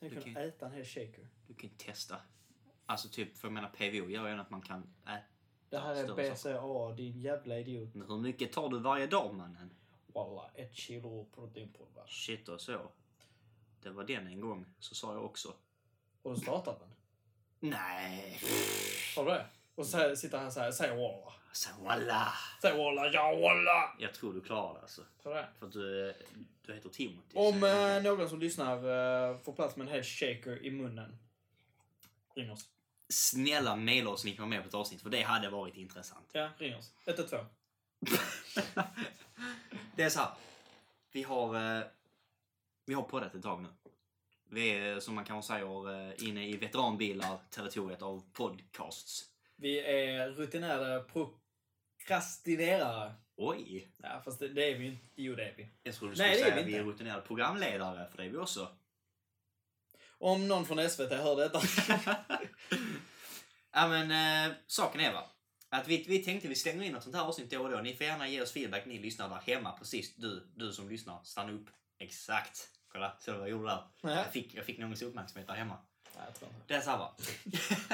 Tänk Du att kan kunna äta en hel shaker. Du kan ju testa. Alltså typ, för jag menar PVO gör ju att man kan äta Det här är större saker. BCA, din jävla idiot. Men hur mycket tar du varje dag mannen? Walla, ett kilo proteinpulver. Shit och så. Det var den en gång, så sa jag också. Har du startat den? Nej, Har du det? Och så sitter han så här, säg walla. så voilà. Säg walla, ja walla! Jag tror du klarar det alltså. Så det. För att du, du heter Timothy. Om så- eh, någon som lyssnar eh, får plats med en hel shaker i munnen. Ring oss. Snälla mejla oss om ni kan vara med på ett avsnitt, för det hade varit intressant. Ja, ring oss. 112. det är så här. Vi har, eh, vi har poddat ett tag nu. Vi är, som man kanske säger, eh, inne i veteranbilar territoriet av podcasts. Vi är rutinerade prokrastinerare. Oj! Ja, fast det, det är vi inte. Jo, det är vi. Jag trodde du Nej, skulle det är säga vi att vi är inte. rutinerade programledare, för det är vi också. Om någon från SVT hör detta. ja men eh, saken är va. Att vi, vi tänkte vi slänger in något sånt här avsnitt då och då. Ni får gärna ge oss feedback ni lyssnar där hemma. Precis du, du som lyssnar, stanna upp. Exakt. Kolla, ser du vad jag gjorde där? Nej. Jag fick, jag fick någons uppmärksamhet där hemma. Nej, jag tror inte. Det är så här va.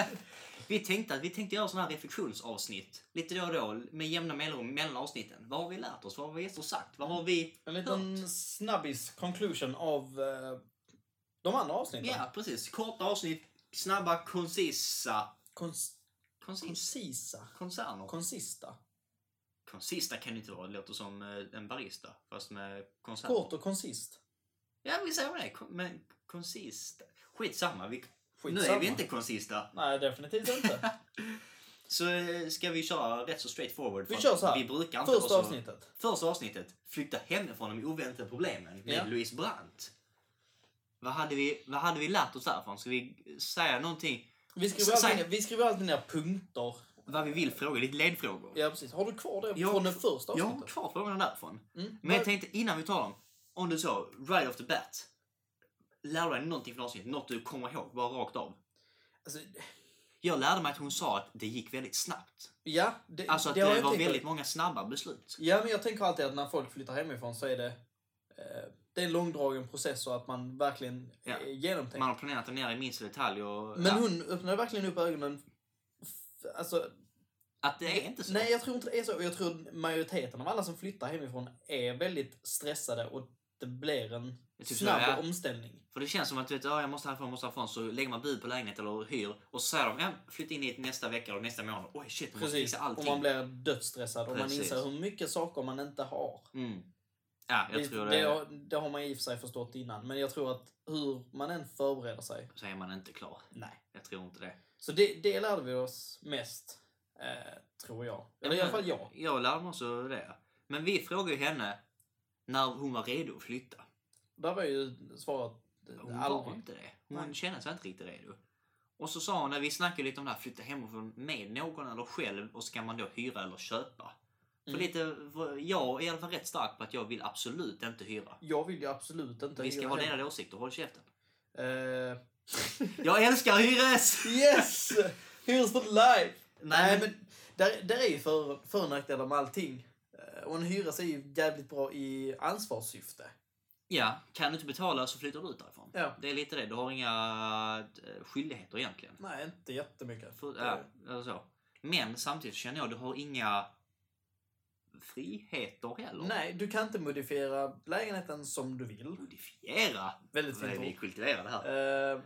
vi, tänkte att, vi tänkte göra sådana här reflektionsavsnitt. Lite då och då med jämna mellanrum mellan avsnitten. Vad har vi lärt oss? Vad har vi gäster sagt? Vad har vi... En liten snabbis conclusion av eh, de andra avsnitten. Ja precis. Korta avsnitt. Snabba, koncisa... Kons- Koncis... koncisa. Koncerner. Konsista. Konsista kan det inte vara. Det låter som eh, en barista. Fast med konsert. Kort och konsist. Ja, vi säger det. Kon- Men konsist. Skitsamma. Vi... Nu är Skitsamma. vi inte konsista. Nej, definitivt inte. Så eh, ska vi köra rätt så straight forward. för Vi att kör så här. Vi brukar inte Första vara så... avsnittet. Första avsnittet. Flytta hemifrån de oväntade problemen med Ja. Louise Brandt. Vad hade, vi, vad hade vi lärt oss därifrån? Ska vi säga någonting? Vi skriver, Säg- alltid ner, vi skriver alltid ner punkter. Vad vi vill fråga? Lite ledfrågor. Ja, precis. Har du kvar det Jag har från det kvar- första Jag har avsnittet? kvar frågorna därifrån. Mm. Men jag tänkte innan vi tar dem, om du så, right off the bat. Lär du dig någonting från avsnittet? Något du kommer ihåg, bara rakt av? Alltså, Jag lärde mig att hon sa att det gick väldigt snabbt. ja, det, Alltså att det, har jag var tänkt på. väldigt många snabba beslut. Ja, men jag tänker alltid att när folk flyttar hemifrån så är det, eh, det är en långdragen process och att man verkligen Ja. är genomtänkt. Man har planerat det ner i minsta detalj och... Men hon öppnade verkligen upp ögonen. f- Alltså, Att det är inte så. nej, jag tror inte det är så. Och Jag tror majoriteten av alla som flyttar hemifrån är väldigt stressade och det blir en Jag tycker så, snabb ja. omställning. För det känns som att du vet, "Ja, jag måste härifrån, måste härifrån. Så lägger man bud på lägenhet eller hyr och så säger de, ja, flytta in hit nästa vecka eller nästa månad. Oj shit, man måste Precis. Och fixa allting. man blir dödsstressad och man Precis. inser hur mycket saker man inte har. Mm. Ja, jag det, tror det. det, har- det har man i och för sig förstått innan. Men jag tror att hur man än förbereder sig. Så är man inte klar. Nej. Jag tror inte det. Så det, det lärde vi oss mest. Eh, tror jag. Eller i alla fall jag. Jag lärde mig också det. Men vi frågade ju henne när hon var redo att flytta. Där var ju svaret eh, Hon var aldrig. inte det. Hon Nej. kände sig inte riktigt redo. Och så sa hon, när vi snackade lite om det här, flytta hemifrån med någon eller själv och ska man då hyra eller köpa? Mm. För lite, för jag är i alla fall rätt stark på att jag vill absolut inte hyra. Jag vill ju absolut inte Vi ska hyra ha hem. delade åsikter, håll käften. Eh, Jag älskar hyres! yes! Here's for life! Nej, Nej men... men där, där är ju för, för och nackdelar med allting. Eh, Och en hyres är ju jävligt bra i ansvarssyfte. Ja, kan du inte betala så flyttar du ut därifrån. Ja. Det är lite det, du har inga eh, skyldigheter egentligen. Nej, inte jättemycket. För, ja, eller så. Men samtidigt känner jag, du har inga friheter heller. Nej, du kan inte modifiera lägenheten som du vill. Modifiera! Väldigt Vad är fint vi ord. kultiverade här. Eh,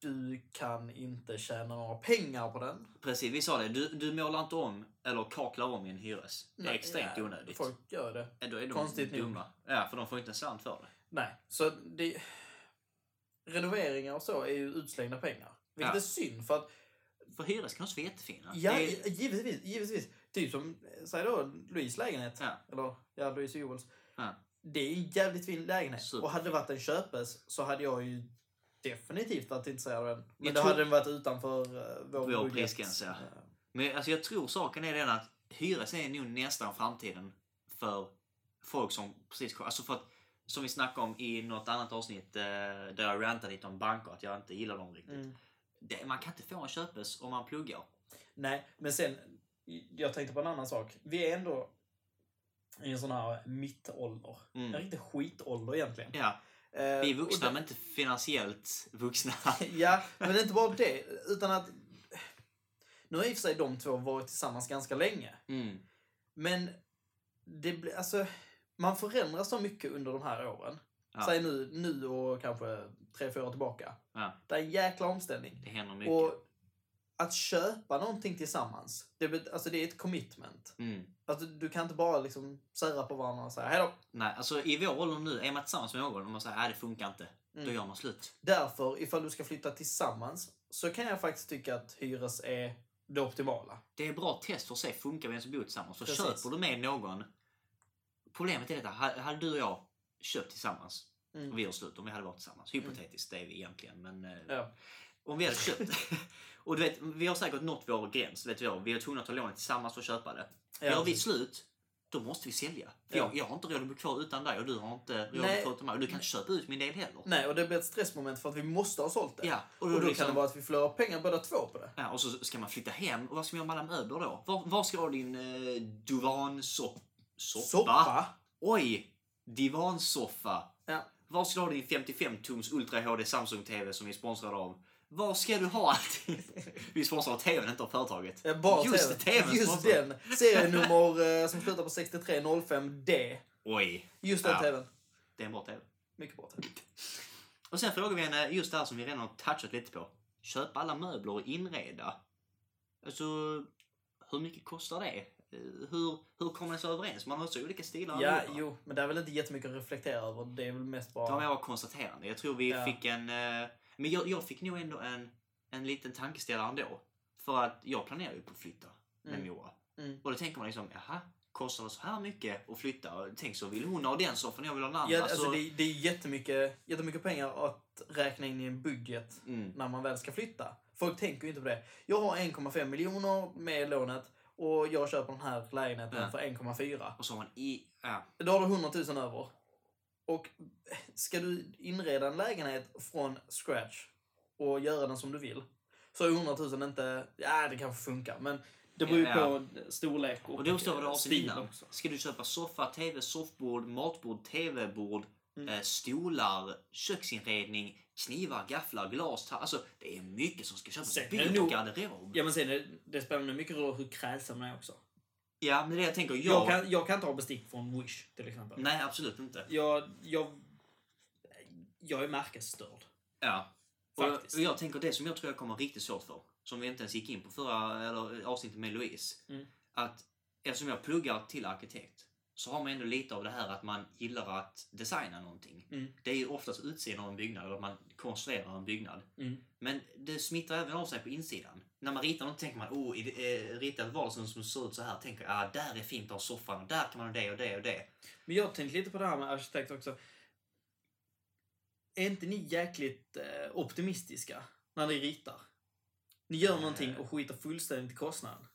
du kan inte tjäna några pengar på den. Precis, vi sa det. Du, du målar inte om eller kaklar om i en hyres. Det är extremt Nej, onödigt. Folk gör det. Ja, Då är de Konstigt nog. dumma. Ja, för de får inte en slant för det. Nej, så det... Renoveringar och så är ju utslängda pengar. Vilket Ja. är synd för att, För hyres kan också vara jättefina. ja, Det är- givetvis, givetvis. Typ som, eh, säg då, Louise lägenhet. Ja. Eller, ja, Louise och Joels. Ja. Det är en jävligt fin lägenhet. Super. Och hade det varit en köpes så hade jag ju definitivt varit intresserad av den. Men Jag då tror- hade den varit utanför uh, vår, Vår budget. prisgräns, ja. Eh, Men alltså, jag tror saken är den att hyres är nog nästan framtiden för folk som precis Alltså för att, som vi snackade om i något annat avsnitt eh, där jag rantade lite om banker, att jag inte gillar dem riktigt. Mm. Det, man kan inte få en köpes om man pluggar. Nej, men sen, jag tänkte på en annan sak. Vi är ändå i en sån här mittålder. En Mm. riktig skitålder egentligen. Ja, Eh, Vi är och vuxna, det- men inte finansiellt vuxna. Ja, men det är inte bara det. Utan att... Nu har i och för sig de två varit tillsammans ganska länge. Mm. Men det blir, alltså, man förändras så mycket under de här åren. Ja. Säg nu, nu och kanske tre, fyra år tillbaka. Ja. Det är en jäkla omställning. Det händer mycket. Och att köpa någonting tillsammans, det, bet- alltså det är ett commitment. Mm. Alltså, du kan inte bara liksom sära på varandra och säga hejdå. Nej, alltså i vår ålder nu, är man tillsammans med någon och man säger att det funkar inte, då Mm. gör man slut. Därför, ifall du ska flytta tillsammans, så kan jag faktiskt tycka att hyres är det optimala. Det är bra test för att se, funkar vi ens att bo tillsammans? Så Precis. köper du med någon. Problemet är detta, ha- hade du och jag köpt tillsammans, Mm. och vi gör slut om vi hade varit tillsammans. Hypotetiskt, det är vi egentligen, men eh, Ja. om vi hade köpt. och du vet, vi har säkert nått vår gräns, vet jag. Vi är tvungna att ta lånet tillsammans för att köpa det. Gör vi slut, då måste vi sälja. För Ja. jag, jag har inte råd att bo kvar utan dig och du har inte råd att Nej. bo kvar utan mig. Och du kan inte köpa ut min del heller. Nej, och det blir ett stressmoment för att vi måste ha sålt det. Ja, och Och då, då liksom, kan det vara att vi förlorar pengar båda två på det. ja, och så ska man flytta hem. Och vad ska man göra med alla möbler då? Var, var ska du ha din eh, divansoppa? Soppa? Oj! Divansoffa. Ja. Var ska du ha din 55-tums Ultra HD Samsung-TV som vi är sponsrade av? Var ska du ha allting? vi är sponsrade av TVn, inte av företaget. Eh, Bara Just TV. TVn Just sponsrar. den. Serienummer eh, som slutar på 6305D. Oj, Just den Ja. TVn. det är en bra TV. Mycket bra TV. Och sen frågar vi henne just det här som vi redan har touchat lite på. Köpa alla möbler och inreda. Alltså, hur mycket kostar det? Eh, Hur, hur kommer det sig överens? Man har så olika stilar Ja, allihopa. jo. Men det är väl inte jättemycket att reflektera över. Det är väl mest Det var bara... mer konstaterande. Jag tror vi Ja. fick en... eh, Men jag, jag fick nog ändå en, en liten tankeställare ändå. För att jag planerar ju på att flytta med Mm. Moa. Mm. Och då tänker man liksom, jaha, kostar det så här mycket att flytta? Tänk så vill hon ha den soffan, jag vill ha den andra. Ja, alltså så... det, det är jättemycket, jättemycket pengar att räkna in i en budget mm. när man väl ska flytta. Folk tänker ju inte på det. Jag har 1,5 miljoner med lånet och jag köper den här lägenheten Ja. för 1,4. Och så har man i... Ja, Då har du 100 000 över. Och ska du inreda en lägenhet från scratch och göra den som du vill så är 100 000 inte... Ja, det kanske funkar, men det beror ju Ja. på storlek och, Och då står det eh, avsnitt stil innan. också. Ska du köpa soffa, tv, soffbord, matbord, tv-bord, Mm. eh, stolar, köksinredning, knivar, gafflar, glas, ta- Alltså det är mycket som ska köpas. Sen är det Bil och nog- garderob. Ja. Ja men sen, är det, det spelar nog mycket roll hur kräsen man är också. men det är det jag tänker. Jag... Jag, kan, jag kan inte ha bestick från Wish till exempel. Nej, absolut inte. Jag, jag, jag är märkesstörd. Ja. Och, jag- Faktiskt. och jag tänker det som jag tror jag kommer riktigt svårt för, som vi inte ens gick in på förra eller, avsnittet med Louise. Mm. Att eftersom jag pluggar till arkitekt så har man ändå lite av det här att man gillar att designa någonting. Mm. Det är ju oftast utseendet av en byggnad, eller att man konstruerar en byggnad. Mm. Men det smittar även av sig på insidan. När man ritar något tänker man, oh, i det, eh, ritar ett vardagsrum som ser ut så här, tänker jag, ah, där är fint att ha soffan, och där kan man ha det och det och det. Men jag har tänkt lite på det här med arkitekt också. Är inte ni jäkligt eh, optimistiska när ni ritar? Ni gör någonting och skiter fullständigt i kostnaden.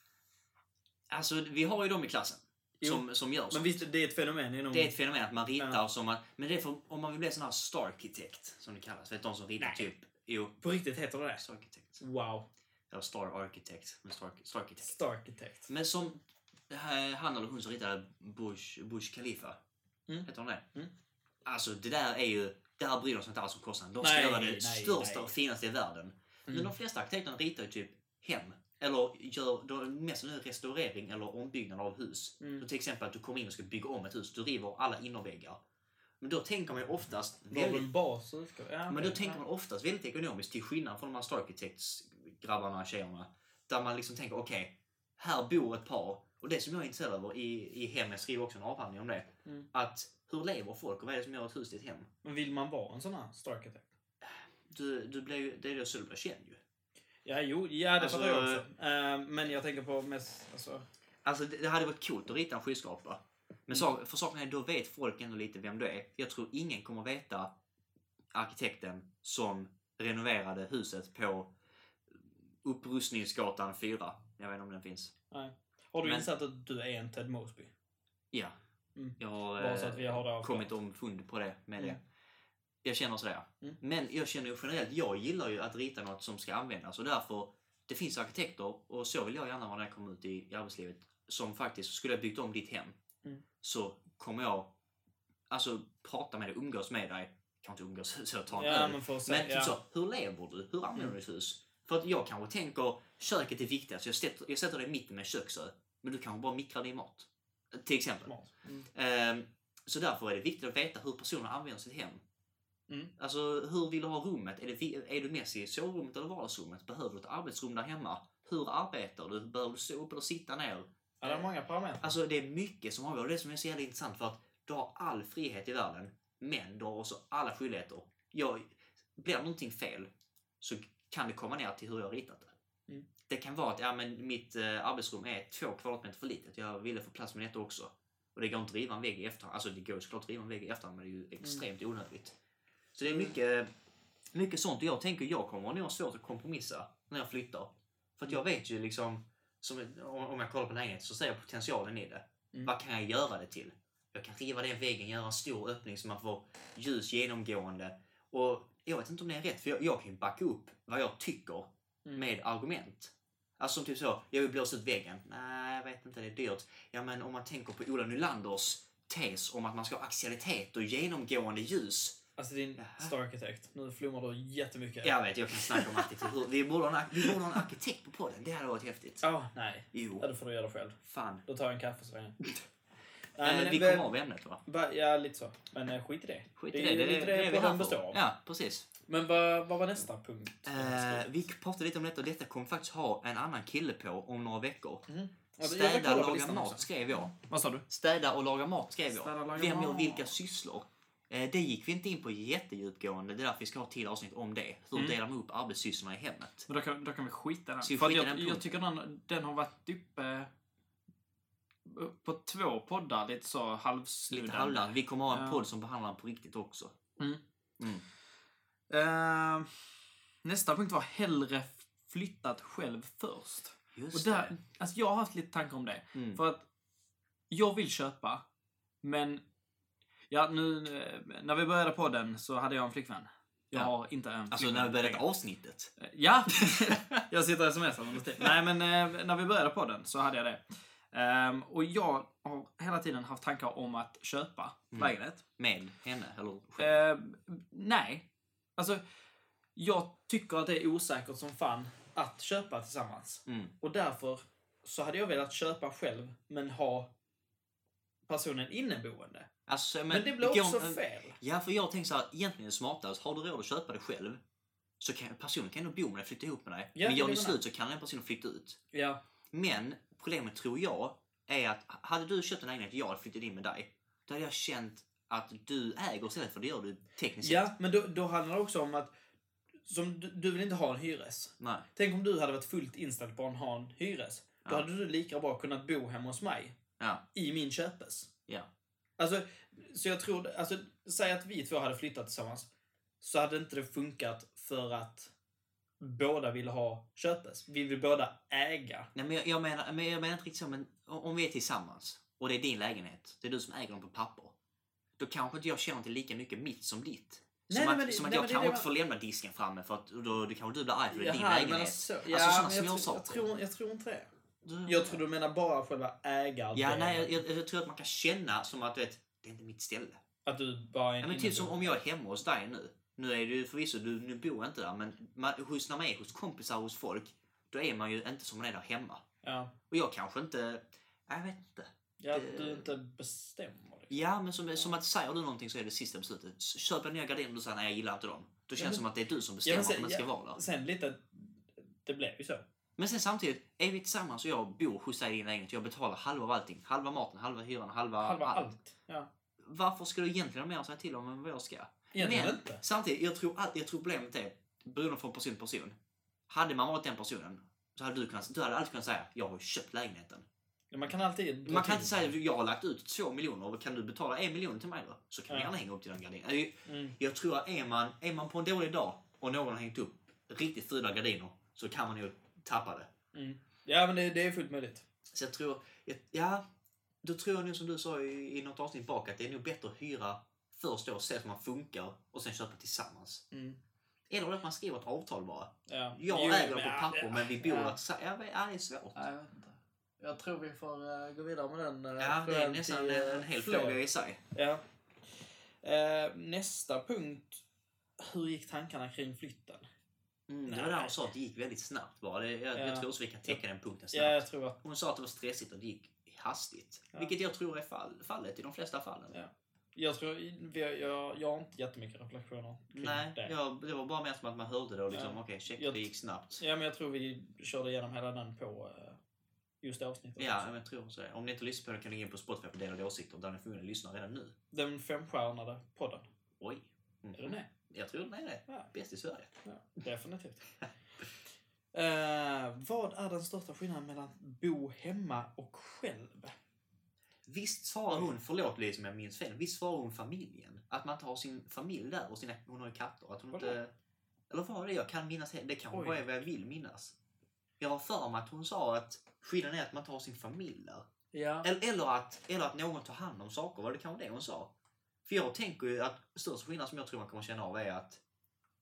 Alltså, vi har ju dem i klassen Jo. som, som gör så. Men visst, det är ett fenomen inom... Det är ett fenomen att man ritar Mm. Ja. som man... Men det är för, om man vill bli sån här starkitekt som det kallas. Vet du de som ritar Nej. typ... Jo, På riktigt heter det det? starkitekt. Wow. Eller star architect. Men stark, starkitekt. Starkitekt. Men som det här, han eller hon som ritade Bush, Bush Khalifa. Mm. Heter hon det? Mm. Alltså det där är ju... Där bryr de sig inte alls om kostnaden. De ska Nej, göra det nej, största nej. och finaste i världen. Men Mm. de flesta arkitekterna ritar ju typ hem. Eller gör de, mest nu restaurering eller ombyggnad av hus. Mm. Så till exempel att du kommer in och ska bygga om ett hus. Du river alla innerväggar. Men då tänker man ju oftast Var det väldigt, en bas? och utgång? Ja, men då okej. tänker man oftast väldigt ekonomiskt till skillnad från de här Starkitects grabbarna och tjejerna. Där man liksom tänker okej, här bor ett par. Och det som jag är intresserad av i, i hem, jag skriver också en avhandling om det. Mm. Att hur lever folk och vad är det som gör ett hus till ett hem? Men vill man vara en sån här starkitekt? Du, du blir ju, det är då så du blir känd ju. Ja, jo, ja det Alltså- fattar jag också. Eh, men jag tänker på mest... Alltså, Alltså det det hade varit coolt att rita en skyskrapa. Men så, för saken är, då vet folk ändå lite vem du är. Jag tror ingen kommer veta arkitekten som renoverade huset på Upprustningsgatan 4. Jag vet inte om den finns. har du Men- insett att du är en Ted Mosby? Ja. Mm. Jag har, Bara eh, så att vi har det avklarat. kommit omfund på det med det. Mm. Jag känner sådär. Mm. Men jag känner ju generellt, jag gillar ju att rita något som ska användas och därför det finns arkitekter och så vill jag gärna vara när jag kommer ut i, i arbetslivet som faktiskt skulle jag byggt om ditt hem Mm. så kommer jag alltså prata med dig, umgås med dig kan inte umgås så jag tar en Ja, öl. men för att Men säga, typ ja. Mm. så, hur lever du? Hur använder du ditt hus? För att jag kanske tänker, köket är viktigast, jag sätter, jag sätter det i mitten med köksö. Men du kanske bara mikrar din mat. Till exempel. Smart. Mm. Ehm, så därför är det viktigt att veta hur personen använder sitt hem. Mm. Alltså hur vill du ha rummet? Är, det, vi- är du mest i sovrummet eller vardagsrummet? Behöver du ett arbetsrum där hemma? Hur arbetar du? Behöver du stå upp eller sitta ner? Ja, det är många parametrar. Alltså det är mycket som avgör. Det som är så jävla intressant för att du har all frihet i världen men du har också alla skyldigheter. Jag, blir någonting fel så kan det komma ner till hur jag har ritat det. Mm. Det kan vara att ja, men mitt eh, arbetsrum är två kvadratmeter för litet. Jag ville få plats med detta också. Och det går inte att riva en vägg i efterhand. Alltså det går ju såklart att riva en vägg i efterhand men det är Mm. ju extremt onödigt. Så det är mycket, mycket sånt. Och jag tänker jag kommer nog ha svårt att kompromissa när jag flyttar. För att jag Mm. vet ju liksom, som, ett- om om jag kollar på lägenhet så ser jag potentialen i det. Mm. Vad kan jag göra det till? Jag kan riva den väggen, göra en stor öppning som att få ljus genomgående. Och jag vet inte om det är rätt, för jag, jag kan ju backa upp vad jag tycker Mm. med argument. Alltså som typ så, jag vill blåsa ut väggen. Nej, jag vet inte, det är dyrt. Ja, men om man tänker på Ola Nylanders tes om att man ska ha axialitet och genomgående ljus. Alltså din Jaha. Star Architect. Nu flummar du jättemycket. Jag vet, jag kan snacka om arkitektur. Vi borde ha en, vi borde ha en arkitekt på podden, det hade varit häftigt. Ah, nej. Ja, Jo, då får du göra det själv. fan. Då tar jag en kaffe så länge. Eh, vi kommer av ämnet va? va, Ja, lite så. Men eh, skit i det. Skit det, i är det, lite det är vi podden här för. består av. Ja, precis. Men vad, vad var nästa punkt? Eh, vi pratade lite om detta och detta kommer vi faktiskt ha en annan kille på om några veckor. Alltså, jag ska Städa kolla och på laga listan mat också. skrev jag. Vad sa du? Städa och laga mat skrev Städa och jag. laga Vem gör mat. vilka sysslor? Eh, det gick vi inte in på jättedjupgående. Det är därför vi ska ha ett till avsnitt om det. Hur Mm. delar man upp arbetssysslorna i hemmet? Men då kan, då kan vi skita i den. Ska vi För att skita jag, i den punkten? jag tycker den, den har varit uppe på två poddar lite så halvsnudden. Lite halvdant. Vi kommer ha en Ja. podd som behandlar den på riktigt också. Mm. Mm. Eh, nästa punkt var hellre flyttat själv först. Och Just där, alltså jag har haft lite tankar om det. det. Mm. För att jag vill köpa, men... Ja, nu... eh, När vi började podden så hade jag en flickvän. Jag Ja. har inte en Alltså när vi började avsnittet. Eh, Ja! jag sitter och smsar under tiden. Nej, men eh, när vi började podden så hade jag det. Ehm, och jag har hela tiden haft tankar om att köpa Mm. lägenhet. Med henne, eller själv. Eh, nej. Alltså, jag tycker att det är osäkert som fan att köpa tillsammans. Mm. Och därför så hade jag velat köpa själv, men ha personen inneboende. Alltså, men, Men, det blir går- också eh, fel. Ja, för jag tänker så här, egentligen är det smartast, har du råd att köpa det själv så kan personen kan ändå bo med dig, flytta ihop med dig. Ja, men det gör ni menar slut så kan den personen flytta ut. Ja. Men problemet tror jag är att hade du köpt en lägenhet och jag hade flyttat in med dig, då hade jag känt att du äger istället för det gör du tekniskt sett. ja, men då, då handlar det också om att som du, du vill inte ha en hyres. Nej. Tänk om du hade varit fullt inställd på att ha en hyres. Då Ja. hade du lika bra kunnat bo hemma hos mig Ja, i min köpes. ja. Alltså, så jag tror, alltså, säg att vi två hade flyttat tillsammans. Så hade inte det funkat för att båda ville ha köpes. Vi vill båda äga. Nej, men jag, jag, menar, men jag menar inte riktigt så, men o- om vi är tillsammans och det är din lägenhet, det är du som äger den på papper. Då kanske inte jag känner till lika mycket mitt som ditt. Nej, Som nej, att, men det- som att nej, jag men det är kanske det inte får lämna disken framme för att då, då kanske du blir arg för det är din Jaha, du menar lägenhet. så. Alltså Ja, men sådana jag, tror, jag, småsaker. tror, jag tror inte det. Du- Jag tror du menar bara själva ägardelen. Ja, nej, jag, jag, jag tror att man kan känna som att du vet, det är inte mitt ställe. Att du bara är Ja, en men typ som inneboende. om jag är hemma hos dig nu. Nu är du förvisso, du, nu bor jag inte där, men man, hos, när man är hos kompisar hos folk, då är man ju inte som man är där hemma. Ja. Och jag kanske inte, jag vet inte. Ja, Det- att du inte bestämmer. Liksom. Ja, men som, som att säger du någonting så är det sista beslutet. S- Köper jag nya gardiner och du säger nej, jag gillar inte dem. Då känns det men- som att det är du som bestämmer men se- om det ska ja. vara där. Sen lite, det blev ju så. Men sen samtidigt, är vi tillsammans och jag bor hos dig i din lägenhet, jag betalar halva av allting. Halva maten, halva hyran, halva, Halva allt. Ja. Varför ska du egentligen ha mer att säga till om än vad jag ska? Egentligen Men inte. samtidigt, jag tror, all, jag tror problemet är beroende från person till person. Hade man varit den personen så hade du, kunnat, du hade alltid kunnat säga jag har köpt lägenheten. Ja, Man kan alltid... Man kan inte säga jag har lagt ut två miljoner och kan du betala en miljon till mig då? Så kan vi Ja. gärna hänga upp dina gardiner. Mm. Jag tror att är man, är man på en dålig dag och någon har hängt upp riktigt fula gardiner så kan man ju tappa det. Mm. Ja, men det, det är fullt möjligt. Så jag tror, jag, ja, då tror jag nu som du sa i, i något avsnitt bak att det är nog bättre att hyra först då, se att man funkar och sen köpa tillsammans. Mm. Eller att man skriver ett avtal bara. Ja. Jag Jo, äger men- på papper men vi bor ja. att ja. jag vet, ja, det är svårt. Nej, jag vet inte. Jag tror vi får eh, gå vidare med den. eh, Ja, det är frågan nästan till, eh, en hel fler. fråga i sig. Ja. Eh, nästa punkt. Hur gick tankarna kring flytten? Mm, det Nej. var där hon sa att det gick väldigt snabbt bara. Det, jag, Ja. jag tror också vi kan täcka den punkten Ja, snabbt. jag tror att... Hon sa att det var stressigt och det gick hastigt. Ja. Vilket jag tror är fall, fallet i de flesta fallen. Ja. Jag, tror, jag, jag, jag har inte jättemycket reflektioner kring Nej, det. jag, det var bara mer som att man hörde det och liksom, Ja. okej, check, Jag- det gick snabbt. Ja, men jag tror vi körde igenom hela den på eh, just det avsnittet. Ja, också. men jag tror så. Om ni inte lyssnar på den kan ni gå in på Spotify på delade åsikter där ni förmodligen lyssnar redan nu. Den femstjärnade podden. Oj. Mhm. Är du med? Jag tror den är det. Ja. Bäst i Sverige. Ja, definitivt. Eh, vad är den största skillnaden mellan att bo hemma och själv? Visst svarar hon, förlåt Louise om jag minns fel, visst svarar hon familjen? Att man inte har sin familj där och sina, hon har ju katter. Att hon Vadå? inte, eller vad var det? Jag kan minnas he- Det kanske Oj. bara är vad jag vill minnas. Jag har för mig att hon sa att skillnaden är att man tar sin familj där. Ja. Eller, eller, att, eller att någon tar hand om saker, var det kanske det hon sa? För jag tänker ju att största skillnaden som jag tror man kommer känna av är att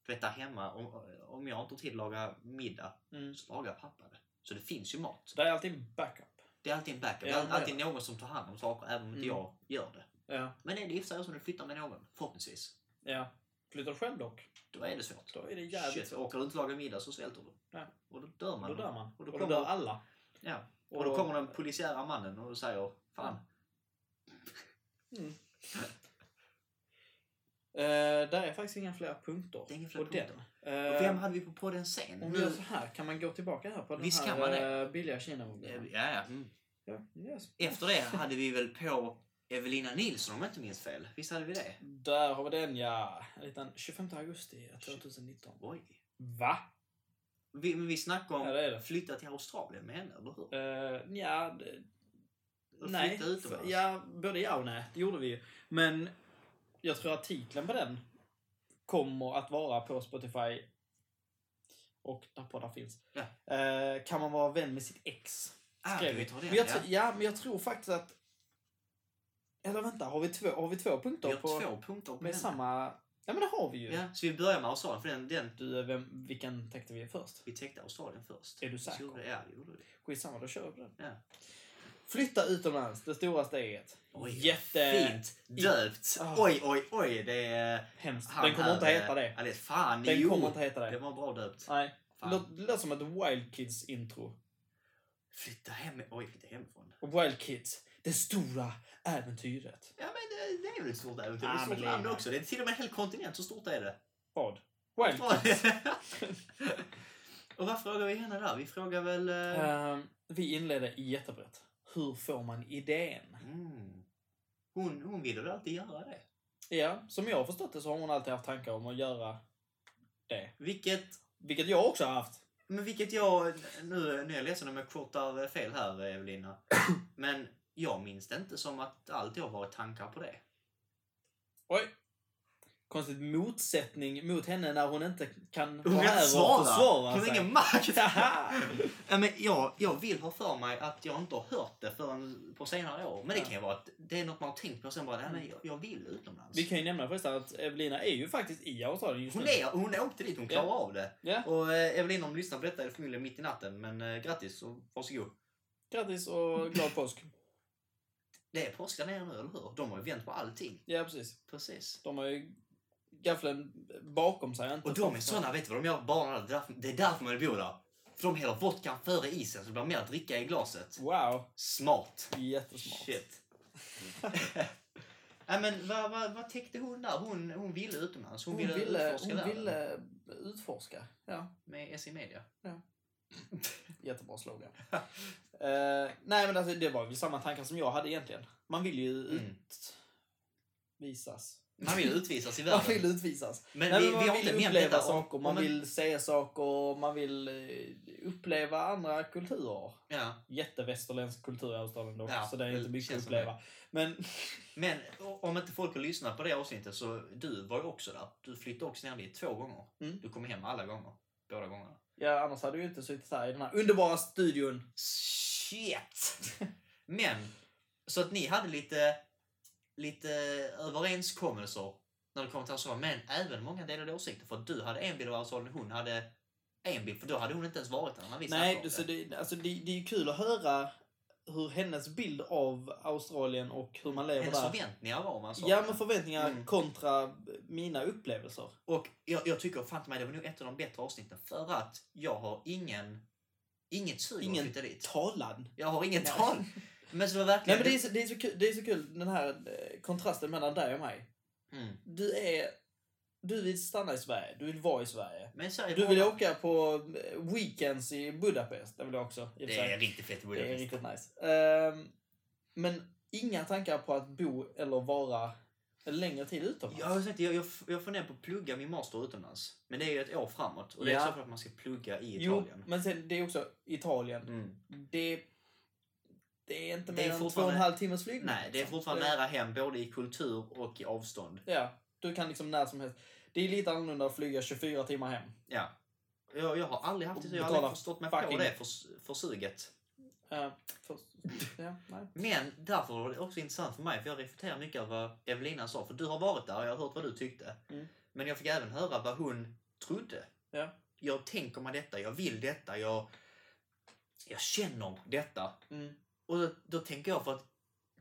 du vet, där hemma, om, om jag inte har tid att laga middag Mm. så lagar pappa det. Så det finns ju mat. Det är alltid en backup. Det är alltid en backup. Ja, det är men- alltid någon som tar hand om saker även om inte Mm. jag gör det. Ja. Men är det i och för sig som du flyttar med någon, förhoppningsvis, ja. Flyttar du själv dock, då är det svårt. då är det jävligt Shit, svårt. orkar du inte laga middag så svälter du. Nej. Och då dör man. Då dör man. Och Och då då, kommer- dör alla. Ja. Och då kommer den polisiära mannen och säger Fan, Mm. Eh, där är faktiskt inga fler punkter. det är ingen fler och den, punkter. eh, Och vem hade vi på podden sen? Om vi gör så här, kan man gå tillbaka här på den Visst här kan man eh, billiga kina Ja, ja. Mm. ja, yes. Efter det hade vi väl på Evelina Nilsson om jag inte minns fel. Visst hade vi det? Där har vi den ja! En liten 25 augusti 2019. Oj. Va? Vi, men vi snackade om Ja, det är det. flytta till Australien med henne, eller hur? Uh, ja, d- Och nej. Flytta utomlands. F- Ja, både ja och nej. Det gjorde vi ju. Men jag tror att titeln på den kommer att vara på Spotify och där poddar finns. Ja. Eh, kan man vara vän med sitt ex? Ah, skrev vi tar det. Men jag, ja. tr- ja, men jag tror faktiskt att... Eller vänta, har vi två, har vi två punkter Vi har på, två punkter på med henne. samma... Ja, men det har vi ju. Ja, så vi börjar med Australien, för den, den Du, vem, vilken täckte vi först? vi täckte Australien först. Är du Så säker? gjorde- Ja, det gjorde vi. Skitsamma, då kör vi på den. Ja. Flytta utomlands, det stora steget. Oj, Jättefint. Fint! Döpt! Ah. Oj, oj, oj! Det är... Hemskt. han Den kommer här, inte heta eh, det. Alice, fan, Den jo! kommer inte heta Det det. var bra döpt. Nej. Fan. Låt- Det låter som ett Wild Kids-intro. Flytta hem... Oj, flytta hemifrån. Och Wild Kids, det stora äventyret. Ja, men det, det är väl ett stort äventyr. Ja, det är ett Ah, men stort det är land det. också. Det är till och med en hel kontinent. Så stort är det. Vad? Wild Kids. och vad frågar vi henne där? Vi frågar väl... eh, Ehm, vi inleder jättebrett. Hur får man idén? Mm. Hon, hon vill väl alltid göra det. Ja, som jag har förstått det så har hon alltid haft tankar om att göra det. Vilket... Vilket jag också har haft. Men vilket jag... Nu, nu är jag ledsen om jag kortar fel här, Evelina. Men jag minns det inte som att det alltid har varit tankar på det. Oj. Konstigt motsättning mot henne när hon inte kan Hon vara kan här inte och svara! försvara Hon sig. har ingen makt! Haha. Ja, men jag, jag vill ha för mig att jag inte har hört det förrän på senare år. Men det Ja. kan ju vara att det är något man har tänkt på och sen bara, nej men jag, jag vill utomlands. Vi kan ju nämna förresten att Evelina är ju faktiskt i Australien just Hon, nu. är, hon åkte dit, hon klarar av det. Ja. Och eh, Evelina om du lyssnar på detta är det förmodligen mitt i natten. Men eh, grattis och varsågod. Grattis och glad påsk. Det är påskar nere nu, eller hur? De har ju vänt på allting. Ja, precis. Precis. De har ju gaffeln bakom sig. Inte Och de är såna, vet du vad de gör? Barnen, det är därför- det är därför man vill bo där. För de häller vodkan före isen så det blir mer dricka i glaset. Wow, Smart! jättesmart. Shit. Nej men vad, vad, vad täckte hon där? Hon, hon ville utomlands. Hon, Hon ville, ville, utforska hon världen ville utforska. Ja. med SE Media. Jättebra slogan. Eh, nej, men alltså, det var väl samma tankar som jag hade egentligen. Man vill ju Mm. utvisas. Man vill utvisas i Man världen. vill utvisas. Men nej, vi, men man vi har vill inte nämnt uppleva detta. om- saker, man om en- vill se saker, man vill eh, uppleva andra kulturer. Ja, Jättevästerländsk kultur i Australien dock, Ja, så det är det inte mycket känns att som det. uppleva. Men men o- om inte folk har lyssnat på det avsnittet så du var ju också där. Du flyttade också ner dit två gånger. Mm. Du kom hem alla gånger. Båda gångerna. ja, annars hade vi ju inte suttit här i den här underbara studion. Shit! Men, så att ni hade lite, lite överenskommelser när det kom till Australien, men även många delade åsikter. För att du hade en bild av Australien, hon hade en bild, för då hade hon inte ens varit där när vi snackade Nej, alltså om så det, alltså, det, det är ju kul att höra hur hennes bild av Australien och hur man lever Hennes där. förväntningar var man sa. Ja, men förväntningar Mm. kontra mina upplevelser. Och jag, jag tycker, fan mig, det var nog ett av de bättre avsnitten för att jag har ingen, inget sug att Ingen flytta dit. Talan. Jag har inget Nej. tal. Men så var Nej, verkligen... men det är, så, det, är så kul, det är så kul, den här eh, kontrasten mellan dig och mig. mm. Du är... Du vill stanna i Sverige, du vill vara i Sverige. men så är Du vill bara- åka på eh, weekends i Budapest, det vill jag också. i och för Det sig. är riktigt fett det är i Budapest. riktigt nice. Ehm, men inga tankar på att bo eller vara en längre tid utomlands? Jag, har sagt, jag, jag, jag funderar på att plugga min master utomlands. Men det är ju ett år framåt. Och det Ja. är så för att man ska plugga i jo, Italien. men sen, det är också Italien. Mm. Det, det är inte Det är mer än två och en fortfarande- halv timmes flygning. Nej, det är liksom. fortfarande Det- nära hem både i kultur och i avstånd. Ja, du kan liksom när som helst. Det är lite annorlunda att flyga 24 timmar hem. Ja. Jag, jag har aldrig haft det så, jag har Betala aldrig förstått mig på fucking- det för, för suget. Eh, för, ja, nej. Men därför var det också intressant för mig, för jag reflekterar mycket över vad Evelina sa. För du har varit där och jag har hört vad du tyckte. Mm. Men jag fick även höra vad hon trodde. Ja. Jag tänker mig detta, jag vill detta, jag, jag känner detta. Mm. Och då, då tänker jag för att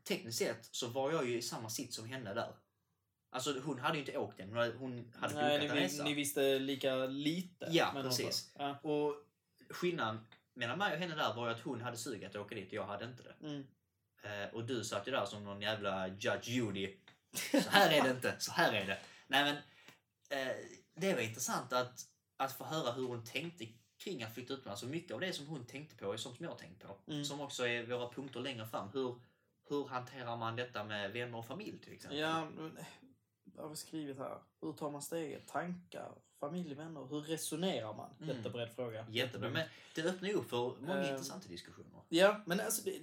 tekniskt sett så var jag ju i samma sitt som henne där. Alltså hon hade ju inte åkt den, hon hade- hon hade nej bokat en ni, vi- resa. ni visste lika lite. Ja, men också- precis. Ja. Och skillnaden mellan mig och henne där var ju att hon hade sug att åka dit och jag hade inte det. Mm. Eh, och du satt ju där som någon jävla Judge Judy. Så här är det inte, så här är det. Nej men, eh, det var intressant att, att få höra hur hon tänkte kring att flytta utomlands. Och mycket av det som hon tänkte på är sånt som jag har tänkt på. Mm. Som också är våra punkter längre fram. Hur, hur hanterar man detta med vänner och familj till exempel? Ja, men, eh, vad har vi skrivit här? Hur tar man steget? Tankar? Familj, vänner? Hur resonerar man? Mm. Jättebred fråga. Jättebra, men det öppnar ju upp för många Eh. intressanta diskussioner. Ja, men alltså, det,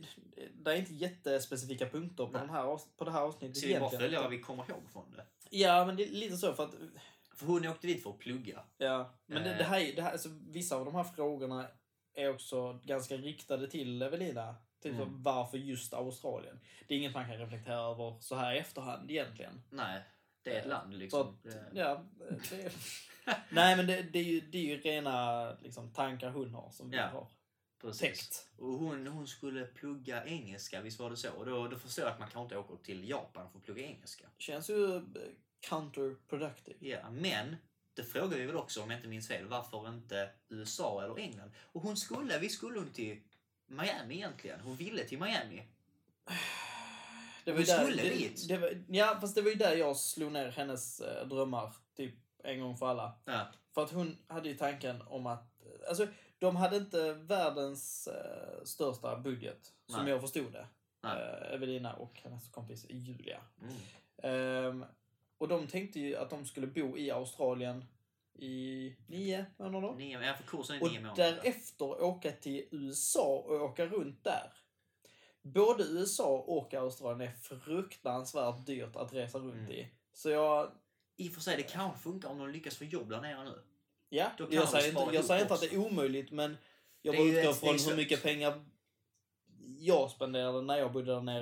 det är inte jättespecifika punkter på, Nej. den här, avs- på det här avsnittet. Så vi bara egentligen. följer vad vi kommer ihåg från det. Ja, men det är lite så för att... För hon åkte dit för att plugga. Ja, men det, Eh. det här, är- det här alltså, vissa av de här frågorna är också ganska riktade till Evelina. Typ Mm. så, varför just Australien? Det är inget man kan reflektera över så här i efterhand egentligen. Nej, det är ett Eh, land Så liksom. att, Det- ja, det, Eh, nej, men det, det, är ju, det är ju rena liksom, tankar hon har som vi Ja, har Precis. täckt. Och hon, hon skulle plugga engelska, visst var det så? Och då, då förstår jag att man kanske inte åker till Japan för att plugga engelska. Känns ju eh, counterproductive. Ja, men det frågar vi väl också om jag inte minns fel, varför inte USA eller England? Och hon skulle, vi skulle hon till Miami egentligen. Hon ville till Miami. Det Vi ju där- skulle det- dit. det var- Ja, fast det var ju där jag slog ner hennes eh, drömmar. Typ en gång för alla. Ja. För att hon hade ju tanken om att... Alltså, de hade inte världens eh, största budget, som Nej. jag förstod det. Nej. Eh, Evelina och hennes kompis Julia. Mm. Ehm, och de tänkte ju att de skulle bo i Australien i nio månader. Nio, ja, för kursen är Och nio månader. därefter åka till USA och åka runt där. Både USA och Australien är fruktansvärt dyrt att resa runt Mm. i. Så jag... I och för sig, det kanske funkar om de lyckas få jobb där nere nu. Ja, Då kan jag vi säger, inte, spara jag ihop säger inte att det också. är omöjligt, men jag Det bara är ju utgår ett från steg hur upp. mycket pengar jag spenderade när jag bodde där nere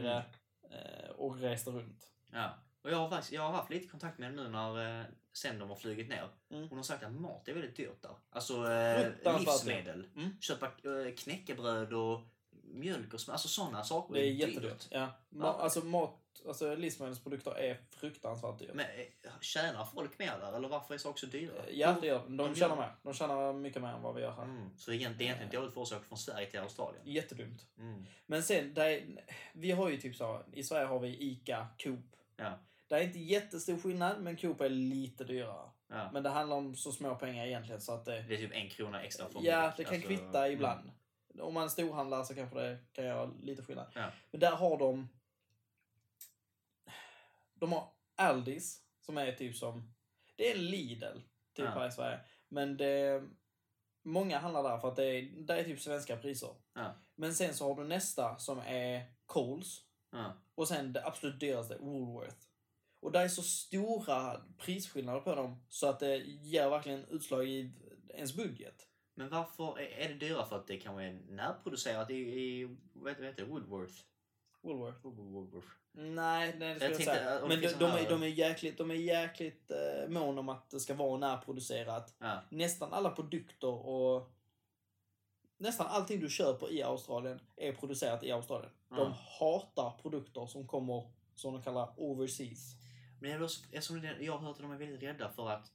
Mm. eh, och reste runt. Ja. Och jag har, faktiskt, jag har haft lite kontakt med henne nu när, eh, sen de har flugit ner. Mm. Hon har sagt att mat är väldigt dyrt där. Alltså eh, Fruktansvärt livsmedel. Mm. Köpa eh, knäckebröd och mjölk och smör. Alltså sådana saker Det är dyrt. jättedyrt. Ja. Ma- Ja. Alltså mat, alltså livsmedelsprodukter är fruktansvärt dyrt. Men eh, tjänar folk mer där? Eller varför är saker så dyra? Eh, Ja, det gör de. De de tjänar gör- mer. De tjänar mycket mer än vad vi gör här. Mm. Så det är egent- det är Eh. egentligen dåligt för oss att åka från Sverige till Australien. Jättedumt. Mm. Men sen, där är, vi har ju typ så, i Sverige har vi ICA, Coop. Ja. Det är inte jättestor skillnad, men Coop är lite dyrare. Ja. Men det handlar om så små pengar egentligen så att det... Det är typ en krona extra för Ja, mjölk. det kan Alltså, kvitta mm. ibland. Om man storhandlar så kanske det kan göra lite skillnad. Ja. Men där har de... De har Aldis, som är typ som... Det är en Lidl, typ Ja. här i Sverige. Men det... Många handlar där för att det är, där är typ svenska priser. Ja. Men sen så har du nästa som är Coles. Ja. Och sen det absolut dyraste, Woolworth. Och där är så stora prisskillnader på dem så att det ger verkligen utslag i ens budget. Men varför är- är det dyrare? För att det kanske är närproducerat i, i vad heter- vad heter det? Woodworth? Woolworth? Woodworth. Nej, nej det skulle jag, tänkte säga. att om det Men de, finns de, såna är, här- de är jäkligt, de är jäkligt eh, mån om att det ska vara närproducerat. Ja. Nästan alla produkter och nästan allting du köper i Australien är producerat i Australien. Mm. De hatar produkter som kommer, som de kallar overseas. Men det är väl också, eftersom det, jag har hört att de är väldigt rädda för att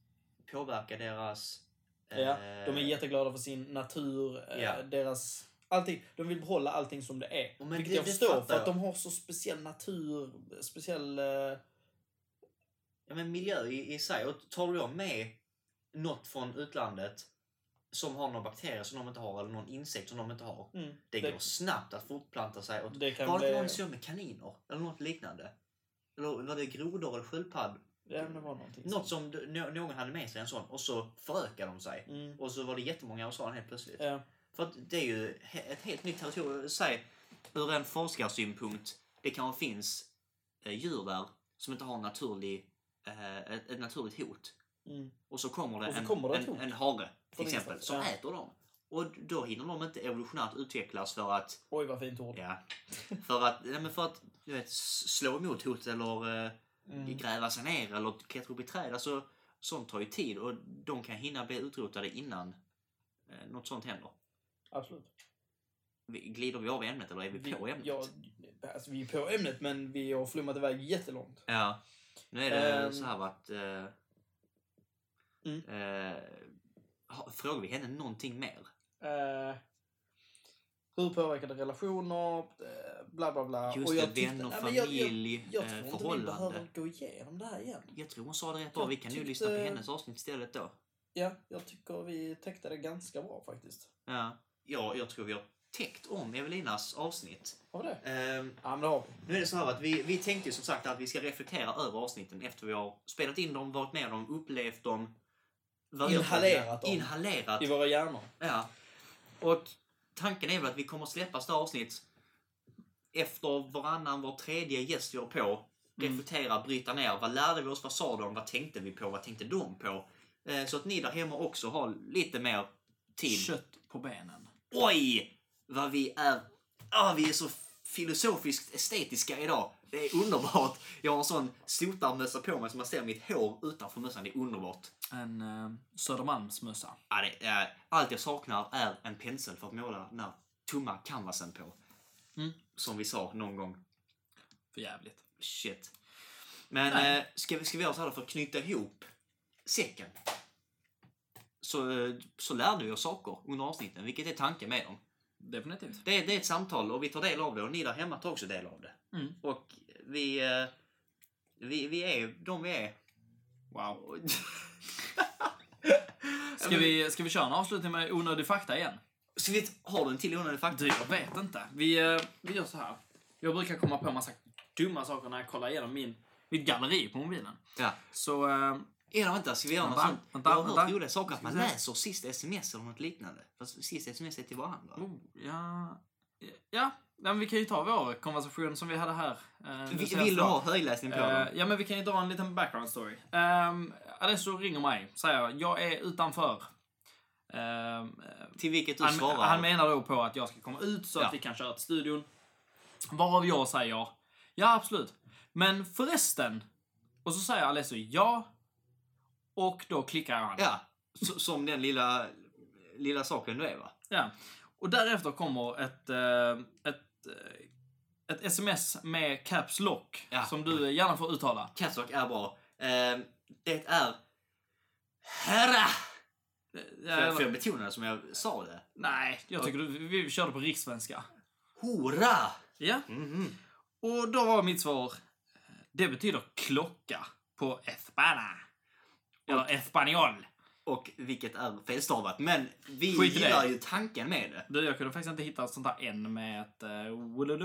påverka deras... Ja, De är eh, jätteglada för sin natur, eh, Ja. deras... Allting. De vill behålla allting som det är. Ja, men vilket det- jag det förstår, fattar för att jag. de har så speciell natur, speciell... Eh, ja, men miljö i, i sig. Och tar du då med något från utlandet som har några bakterier som de inte har eller någon insekt som de inte har. mm, Det, Det- går snabbt att fortplanta sig. Och det kan var det bli... inte någon som gjorde med kaniner? Eller något liknande? Eller var det grodor eller sköldpadd? Ja, men det var någonting. Något som d- nå- någon hade med sig en sån och så förökade de sig. Mm, Och så var det jättemånga australier helt plötsligt. ja. För att det är ju he- ett helt nytt territorium. Säg, ur en forskarsynpunkt, det kanske finns eh, djur där som inte har en naturlig, eh, ett, ett naturligt hot. Mm. Och så kommer det, Och så en, kommer det ett en, hot. en hare Från till exempel som ingenstans, äter dem. Och då hinner de inte evolutionärt utvecklas för att Oj, vad fint ord. Ja. För att, nej men för att du vet, s- slå emot hot eller eh, Mm. gräva sig ner eller klättra upp i träd. Alltså, sånt tar ju tid och de kan hinna bli utrotade innan eh, något sånt händer. Absolut. Vi- Glider vi av ämnet eller är vi, på ämnet? Ja, alltså, vi är på ämnet, men vi har flummat iväg jättelångt. Ja. Nu är det Ehm. så här att... Eh, Mm. eh, ha- frågar vi henne någonting mer? Eh, hur påverkar det relationer? Eh, bla, bla, bla. Just Och jag det, tyckte- vänner, Nej, men jag- jag- familj, Jag eh, tror inte vi förhållande. behöver gå igenom det här igen. Jag tror hon sa det rätt bra. Jag Vi kan ju tyckte- lyssna på hennes avsnitt istället då. Ja, jag tycker vi täckte det ganska bra faktiskt. Ja, ja jag tror vi har täckt om Evelinas avsnitt. Har vi det? Ehm, Ja, men det har vi. nu är det så här att vi, vi tänkte ju som sagt att vi ska reflektera över avsnitten efter vi har spelat in dem, varit med dem, upplevt dem. varit- Inhalerat dem. Inhalerat, I våra hjärnor. ja. Och tanken är väl att vi kommer släppa sådana avsnitt efter varannan, var tredje gäst vi har på. Mm. Reflektera, bryta ner. Vad lärde vi oss? Vad sa de? Vad tänkte vi på? Vad tänkte de på? Eh, Så att ni där hemma också har lite mer tid. Kött på benen. Oj! Vad vi är... Ah, vi är så filosofiskt estetiska idag. Det är underbart. Jag har en sån sotarmössa på mig som man ser mitt hår utanför mössan. Det är underbart. En eh, Södermalmsmössa. Ja, det är, allt jag saknar är en pensel för att måla den här tomma canvasen på. Mm. Som vi sa någon gång. För jävligt. Shit. Men Nej. eh, ska, vi, ska vi göra så här för att knyta ihop säcken? Så, eh, så lärde vi oss saker under avsnitten, vilket är tanken med dem. Definitivt. Det, det är ett samtal och vi tar del av det och ni där hemma tar också del av det. Mm. Och vi, eh, vi, vi är de vi är. Wow. Ja, Ska men- vi, ska vi köra en avslutning med onödig fakta igen? Ska vi ha den till onödig fakta? Du, jag vet inte. Vi, eh, vi gör så här. Jag brukar komma på massa dumma saker när jag kollar igenom min, mitt galleri på mobilen. Ja. Så, eh, Eller vänta, ska vi göra något Vänta, sånt? vänta, jag har hört vänta. roliga saker att man Ska vi se. läser sista sms eller något liknande. Fast sista sms är till varandra. oh, ja. Ja, nej, men vi kan ju ta vår konversation som vi hade här. eh, nu Vi- senast Vill du då. ha högläsning på Eh, dem? ja, men vi kan ju dra en liten background story. Um, Adesso ringer mig, säger jag är utanför. Ehm, eh, Till vilket du han, svarar. han menar då på att jag ska komma ut så Ja. att vi kan köra till studion. Varav jag säger ja, absolut. Men förresten. Och så säger Alesso ja. Och då klickar han. Ja, så, som den lilla, lilla saken du är va? Ja. Och därefter kommer ett, eh, ett, eh, ett sms med Caps Lock. Ja. Som du gärna får uttala. Catsock är bra. Ehm, det är... Herra! Får Eh, jag, får jag betona det som jag sa det? Eh, Nej, jag tycker du, vi vi körde på rikssvenska. Hora! Ja. Mhm. Och då var mitt svar, det betyder klocka på espana. Eller espanol. Och vilket är felstavat. Men vi Skit i det. gillar ju tanken med det. Du, jag kunde faktiskt inte hitta ett sånt här N med ett... Uh, Håller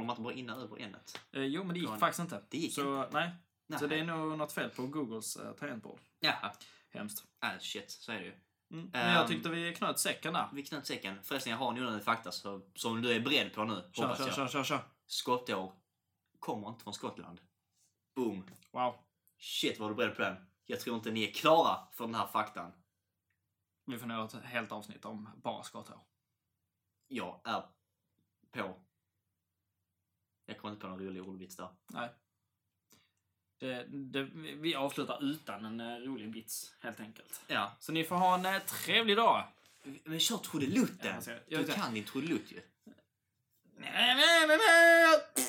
man inte bara inne över ämnet? Eh, jo, men det gick Från- faktiskt inte. Det gick Så, nej. Nej. Så det är nog något fel på Googles eh, tangentbord. Jaha. Hemskt. Ah, shit, så är det ju. Mm. Men jag Ehm. tyckte vi knöt säcken där. Vi knöt säcken. Förresten, jag har en onödig fakta så, som du är beredd på nu, Kör, hoppas kör, jag. kör, kör, kör. Skottår kommer inte från Skottland. Boom. Wow. Shit, var du beredd på den? Jag tror inte ni är klara för den här faktan. Vi får nog göra ett helt avsnitt om bara skotthår. Jag är på. Jag kommer inte på någon rolig ordvits där. Nej. Det, det, vi vi avslutar utan en eh, rolig vits, helt enkelt. Ja, Så ni får ha en eh, trevlig dag. Men kör trudelutten! Ja, alltså, jag- du jag- kan din trudelutt ju. Nej, nej, nej, nej.